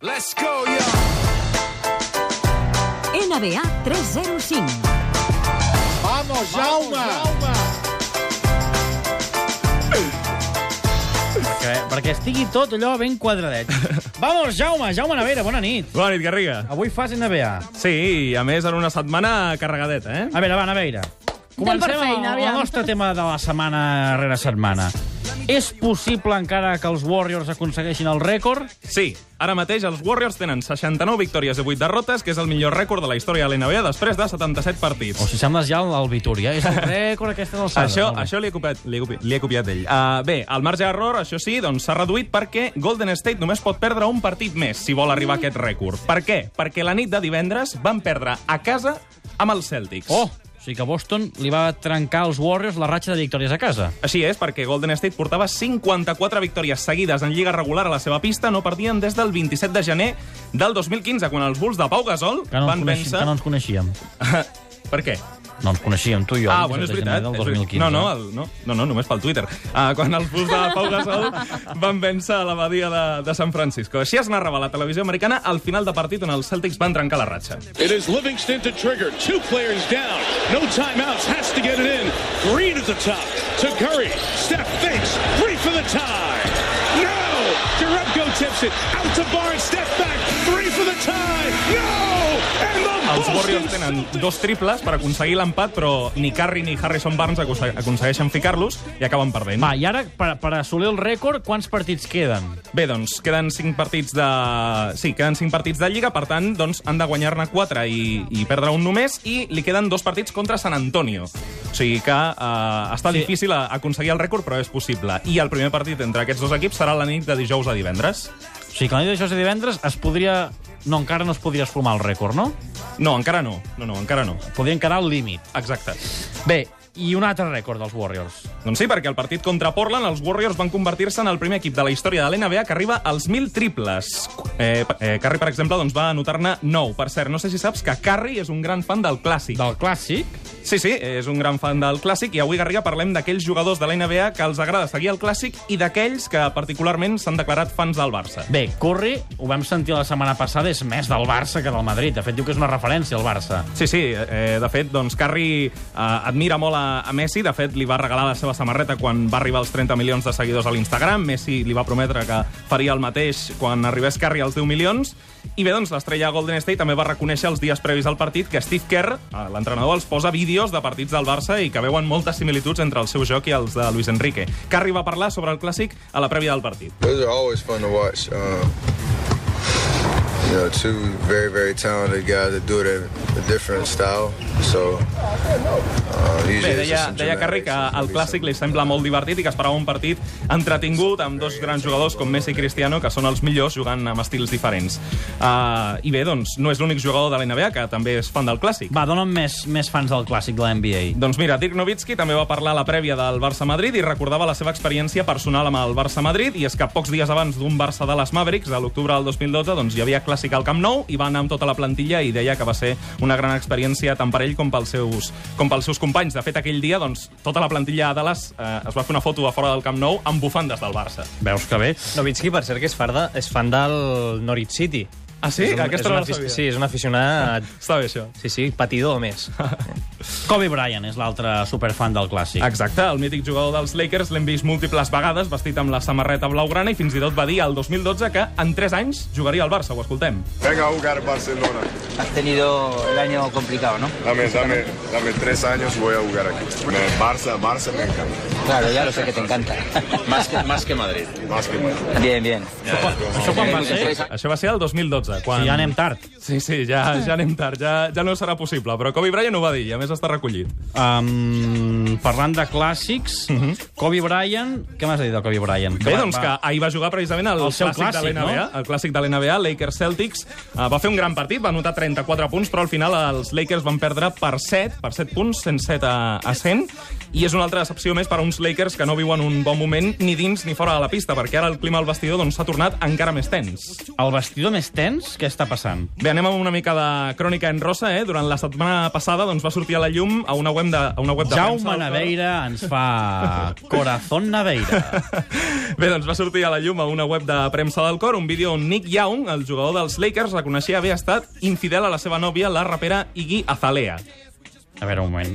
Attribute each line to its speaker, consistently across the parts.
Speaker 1: Let's go, yo!
Speaker 2: NBA 305.
Speaker 3: Vamos, Jaume!
Speaker 4: Perquè, perquè estigui tot allò ben quadradet. Vamos, Jaume, Jaume Navera, bona nit.
Speaker 5: Bona nit, Garriga.
Speaker 4: Avui fas NBA.
Speaker 5: Sí, i a més en una setmana carregadeta, eh?
Speaker 4: A veure, va, Navera.
Speaker 6: per
Speaker 4: Comencem
Speaker 6: feina,
Speaker 4: amb el
Speaker 6: aviam.
Speaker 4: nostre tema de la setmana rere setmana. És possible encara que els Warriors aconsegueixin el rècord?
Speaker 5: Sí, ara mateix els Warriors tenen 69 victòries i 8 derrotes, que és el millor rècord de la història de la NBA després de 77 partits.
Speaker 4: O si sembles ja el Vitoria, és el rècord aquesta d'alçada.
Speaker 5: Això,
Speaker 4: Molt bé.
Speaker 5: això li, he copiat, li, he copiat, li he copiat ell. Uh, bé, el marge d'error, això sí, doncs s'ha reduït perquè Golden State només pot perdre un partit més si vol arribar a aquest rècord. Per què? Perquè la nit de divendres van perdre a casa amb els Celtics.
Speaker 4: Oh, o sigui que Boston li va trencar als Warriors la ratxa de victòries a casa.
Speaker 5: Així és, perquè Golden State portava 54 victòries seguides en lliga regular a la seva pista, no perdien des del 27 de gener del 2015, quan els Bulls de Pau Gasol
Speaker 4: Que no, ens
Speaker 5: van
Speaker 4: coneixi-
Speaker 5: vèncer...
Speaker 4: que no ens coneixíem.
Speaker 5: Per què?
Speaker 4: No ens coneixíem, tu i jo.
Speaker 5: ah,
Speaker 4: el
Speaker 5: bueno,
Speaker 4: 17
Speaker 5: és
Speaker 4: de
Speaker 5: veritat.
Speaker 4: gener
Speaker 5: és
Speaker 4: Del
Speaker 5: veritat.
Speaker 4: 2015.
Speaker 5: No, no, el, no, no, no, només pel Twitter. Ah, quan els Bulls de Pau Gasol van vèncer a la badia de, de San Francisco. Així es narrava a la televisió americana al final de partit on els Celtics van trencar la ratxa.
Speaker 7: It is Livingston to trigger. Two players down. No timeouts. Has to get it in. Green at the top. To Curry. Steph fakes. Three for the tie. No! Jerebko tips it. Out to Barnes. Step back. Three for the tie. No! And the
Speaker 5: Els
Speaker 7: Boston
Speaker 5: Warriors tenen
Speaker 7: Celtics-
Speaker 5: dos triples per aconseguir l'empat, però ni Curry ni Harrison Barnes acose- aconsegueixen ficar-los i acaben perdent.
Speaker 4: Va, i ara, per, per assolir el rècord, quants partits queden?
Speaker 5: Bé, doncs, queden 5 partits de... Sí, queden 5 partits de Lliga, per tant, doncs, han de guanyar-ne 4 i, i perdre un només, i li queden dos partits contra San Antonio. O sigui que eh,
Speaker 4: Sí.
Speaker 5: està sí. difícil a- aconseguir el rècord, però és possible. I el primer partit entre aquests dos equips serà la nit de dijous a divendres.
Speaker 4: O sigui, que la nit d'això de divendres es podria... No, encara no es podria esfumar el rècord, no?
Speaker 5: No, encara no. No, no, encara no.
Speaker 4: Podrien quedar al límit.
Speaker 5: Exacte.
Speaker 4: Bé, i un altre rècord dels Warriors.
Speaker 5: Doncs sí, perquè el partit contra Portland, els Warriors van convertir-se en el primer equip de la història de l'NBA que arriba als 1.000 triples. Eh, eh, Curry, per exemple, doncs va anotar-ne 9. Per cert, no sé si saps que Curry és un gran fan del clàssic.
Speaker 4: Del clàssic,
Speaker 5: Sí, sí, és un gran fan del clàssic i avui, Garriga, parlem d'aquells jugadors de la NBA que els agrada seguir el clàssic i d'aquells que particularment s'han declarat fans del Barça.
Speaker 4: bé, Curry, ho vam sentir la setmana passada, és més del Barça que del Madrid. De fet, diu que és una referència al Barça.
Speaker 5: Sí, sí, eh, de fet, doncs, Carri eh, admira molt a, a Messi, de fet, li va regalar la seva samarreta quan va arribar als 30 milions de seguidors a l'Instagram, Messi li va prometre que faria el mateix quan arribés Carri als 10 milions, i bé, doncs, l'estrella Golden State també va reconèixer els dies previs al partit que Steve Kerr, eh, l'entrenador, els posa vídeos de partits del Barça i que veuen moltes similituds entre el seu joc i els de Luis Enrique. Carri va parlar sobre el clàssic a la prèvia del partit.
Speaker 8: Those are always fun to watch. Um, you know, two very, very talented guys that do it in a different style. So, uh,
Speaker 5: Bé,
Speaker 8: usually it's just
Speaker 5: deia,
Speaker 8: some
Speaker 5: deia Carri que
Speaker 8: generations,
Speaker 5: el
Speaker 8: maybe
Speaker 5: clàssic
Speaker 8: some-
Speaker 5: li sembla molt divertit i que esperava un partit entretingut amb dos grans jugadors com Messi i Cristiano, que són els millors jugant amb estils diferents. Uh, I bé, doncs, no és l'únic jugador de la NBA que també és fan del clàssic.
Speaker 4: Va, dona'm més, més fans del clàssic de la NBA.
Speaker 5: Doncs mira, Dirk Nowitzki també va parlar a la prèvia del Barça-Madrid i recordava la seva experiència personal amb el Barça-Madrid i és que pocs dies abans d'un Barça de les Mavericks, a l'octubre del 2012, doncs hi havia clàssic al Camp Nou i va anar amb tota la plantilla i deia que va ser una gran experiència tant per ell com pels seus, com pels seus companys. De fet, aquell dia, doncs, tota la plantilla a Dallas eh, es va fer una foto a fora del Camp Nou amb bufandes del Barça.
Speaker 4: Veus que bé?
Speaker 9: Novitski, per cert, que és, farda, és fan del Norwich City.
Speaker 5: Ah, sí?
Speaker 9: És un,
Speaker 5: Aquesta
Speaker 9: és
Speaker 5: no
Speaker 9: un
Speaker 5: la
Speaker 9: afic-
Speaker 5: sabia.
Speaker 9: Sí, és un aficionat...
Speaker 5: Està bé, això.
Speaker 9: Sí, sí, patidor, a més.
Speaker 4: Kobe Bryant és l'altre superfan del clàssic.
Speaker 5: Exacte, el mític jugador dels Lakers l'hem vist múltiples vegades vestit amb la samarreta blaugrana i fins i tot va dir al 2012 que en 3 anys jugaria al Barça, ho escoltem.
Speaker 8: Venga a jugar a Barcelona.
Speaker 10: Has tenido el año complicado, ¿no?
Speaker 8: Dame, dame, dame tres años voy a jugar aquí. Me- Barça, Barça me encanta.
Speaker 10: Claro, ya lo sé que te encanta.
Speaker 11: Más que, más que Madrid.
Speaker 8: Más que más.
Speaker 10: Bien, bien.
Speaker 4: Això quan va ser?
Speaker 5: Això va ser el 2012, quan...
Speaker 4: Sí, ja anem tard.
Speaker 5: Sí, sí, ja, ja anem tard, ja, ja no serà possible, però Kobe Bryant ho va dir, i a més està recollit.
Speaker 4: Um, parlant de clàssics, Kobe Bryant... Què m'has de dir de Kobe Bryant?
Speaker 5: Bé,
Speaker 4: va-
Speaker 5: doncs que
Speaker 4: va-
Speaker 5: ahir va jugar precisament el,
Speaker 4: El seu
Speaker 5: de
Speaker 4: clàssic,
Speaker 5: l'NBA,
Speaker 4: no?
Speaker 5: el clàssic de l'NBA, Lakers Celtics, eh, va fer un gran partit, va anotar 34 punts, però al final els Lakers van perdre per 7, per 7 punts, 107 a, a 100, i és una altra decepció més per a un uns Lakers que no viuen un bon moment ni dins ni fora de la pista, perquè ara el clima al vestidor doncs, s'ha tornat encara més tens.
Speaker 4: El vestidor més tens, què està passant?
Speaker 5: Bé, anem amb una mica de crònica en rosa, eh? Durant la setmana passada doncs, va sortir a la llum a una web de, a una web de
Speaker 4: Jaume
Speaker 5: premsa.
Speaker 4: Naveira ens fa Corazón Naveira.
Speaker 5: Bé, doncs va sortir a la llum a una web de premsa del cor un vídeo on Nick Young, el jugador dels Lakers, reconeixia haver estat infidel a la seva nòvia, la rapera Iggy Azalea.
Speaker 4: A veure, un moment.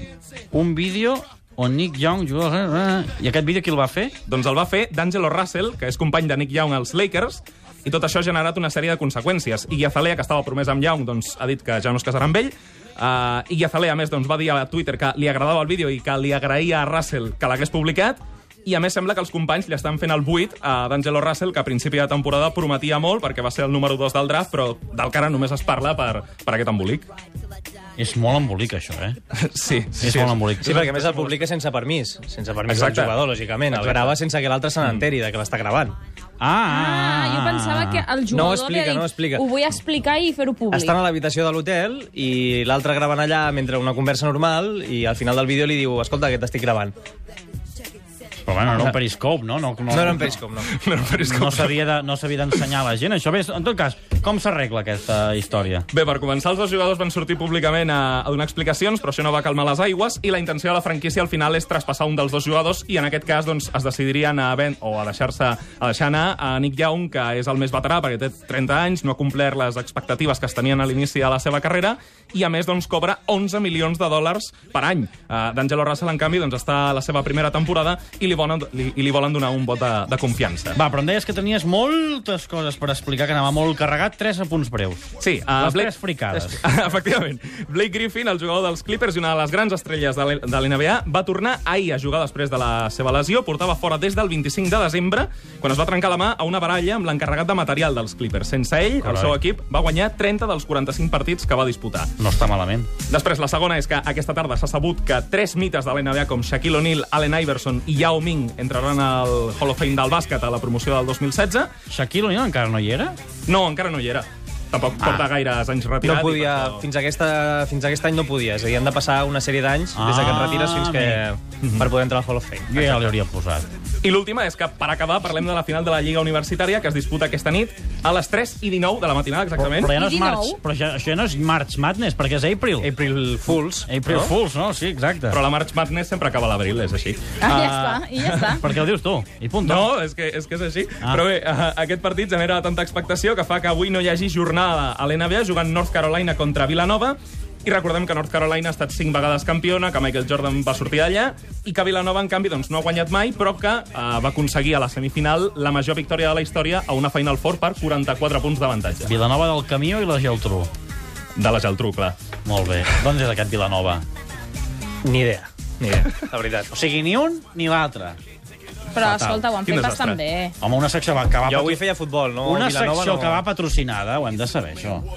Speaker 4: Un vídeo on Nick Young juga... I aquest vídeo qui el va fer?
Speaker 5: Doncs el va fer D'Angelo Russell, que és company de Nick Young als Lakers, i tot això ha generat una sèrie de conseqüències. Iggy Azalea, que estava promesa amb Young, doncs ha dit que ja no es casarà amb ell. Uh, Iggy Azalea, a més, doncs, va dir a Twitter que li agradava el vídeo i que li agraïa a Russell que l'hagués publicat, i a més sembla que els companys li estan fent el buit a D'Angelo Russell, que a principi de temporada prometia molt perquè va ser el número 2 del draft, però del que ara només es parla per, per aquest embolic.
Speaker 4: És molt embolic, això, eh?
Speaker 5: Sí, sí,
Speaker 4: És molt embolic.
Speaker 9: Sí, perquè a més el publica sense permís. Sense permís
Speaker 5: Exacte.
Speaker 9: del jugador, lògicament. El grava sense que l'altre se n'enteri de que l'està gravant.
Speaker 4: Ah, ah,
Speaker 1: Ah, jo pensava que el
Speaker 9: No ho
Speaker 1: jugador
Speaker 9: explica,
Speaker 1: li ha dit
Speaker 9: no ho explica.
Speaker 1: ho vull explicar i fer-ho públic.
Speaker 9: Estan a l'habitació de l'hotel i l'altre gravant allà mentre una conversa normal i al final del vídeo li diu escolta, que t'estic gravant.
Speaker 4: Però bueno, era un periscope, no? No,
Speaker 9: No era en Periscope, no.
Speaker 5: No, però és com...
Speaker 4: No s'havia de- no s'havia d'ensenyar a la gent, això. Bé, en tot cas, com s'arregla aquesta història?
Speaker 5: Bé, per començar, els dos jugadors van sortir públicament a, a donar explicacions, però això no va calmar les aigües, i la intenció de la franquícia al final és traspassar un dels dos jugadors, i en aquest cas doncs, es decidirien a ven o a deixar-se a deixar anar a Nick Young, que és el més veterà perquè té 30 anys, no ha complert les expectatives que es tenien a l'inici de la seva carrera, i a més doncs, cobra 11 milions de dòlars per any. Uh, D'Angelo Russell, en canvi, doncs, està a la seva primera temporada i li volen, li, i li volen donar un vot de, de confiança.
Speaker 4: Va, però em deies que tenies moltes coses per explicar, que anava molt carregat. Tres apunts breus.
Speaker 5: Sí, uh,
Speaker 4: Les tres fricades.
Speaker 5: Efectivament. Blake Griffin, el jugador dels Clippers i una de les grans estrelles de l- de l'NBA, va tornar ahir a jugar després de la seva lesió. Portava fora des del 25 de desembre, quan es va trencar la mà a una baralla amb l'encarregat de material dels Clippers. Sense ell, el
Speaker 4: Carai.
Speaker 5: seu equip va guanyar 30 dels 45 partits que va disputar.
Speaker 4: No està malament.
Speaker 5: Després, la segona és que aquesta tarda s'ha sabut que tres mites de l'NBA com Shaquille O'Neal, Allen Iverson i Yao Ming entraran al Hall of Fame del bàsquet a la promoció del 2016.
Speaker 4: Shaquille O'Neal encara no hi era?
Speaker 5: No, encara no hi era. Tampoc
Speaker 4: Ah.
Speaker 5: porta gaires anys
Speaker 9: No
Speaker 5: retirat. i per
Speaker 9: podia,
Speaker 5: això-
Speaker 9: fins, aquesta, fins aquest any no podia. És a dir, han de passar una sèrie d'anys des de que et retires fins que... per poder entrar al Hall of Fame.
Speaker 4: Jo ja l'hauria posat.
Speaker 5: I l'última és que, per acabar, parlem de la final de la Lliga Universitària que es disputa aquesta nit a les 3 i 19 de la matinada, exactament.
Speaker 4: Però ja no és
Speaker 1: I
Speaker 4: March,
Speaker 1: 19.
Speaker 4: però ja, això ja no és March Madness, perquè és April.
Speaker 9: April Fools.
Speaker 4: April
Speaker 9: no?
Speaker 4: Fools, no? Sí, exacte.
Speaker 5: Però la March Madness sempre acaba a l'abril, és així.
Speaker 1: Ah, ja està, i ja està.
Speaker 4: Per què ho dius tu? I punt.
Speaker 5: No, és que és, que és així.
Speaker 4: Ah.
Speaker 5: Ah. Però bé, eh, aquest partit genera tanta expectació que fa que avui no hi hagi jornada a l'NBA jugant North Carolina contra Vilanova i recordem que North Carolina ha estat cinc vegades campiona, que Michael Jordan va sortir d'allà, i que Vilanova, en canvi, doncs, no ha guanyat mai, però que eh, va aconseguir a la semifinal la major victòria de la història a una Final Four per 44 punts d'avantatge.
Speaker 4: Vilanova del Camió i la Geltrú.
Speaker 5: De la Geltrú, clar.
Speaker 4: Molt bé. D'on és aquest Vilanova?
Speaker 9: Ni idea. Ni idea, la veritat.
Speaker 4: O sigui, ni un ni l'altre.
Speaker 1: Però, escolta, ho han
Speaker 5: Quin
Speaker 1: fet
Speaker 5: desastre.
Speaker 1: bastant bé.
Speaker 4: Home, una secció va- que va...
Speaker 9: Jo
Speaker 4: patro-
Speaker 9: avui feia futbol, no?
Speaker 4: Una
Speaker 9: Vilanova
Speaker 4: secció
Speaker 9: no...
Speaker 4: que va patrocinada, ho hem de saber, això.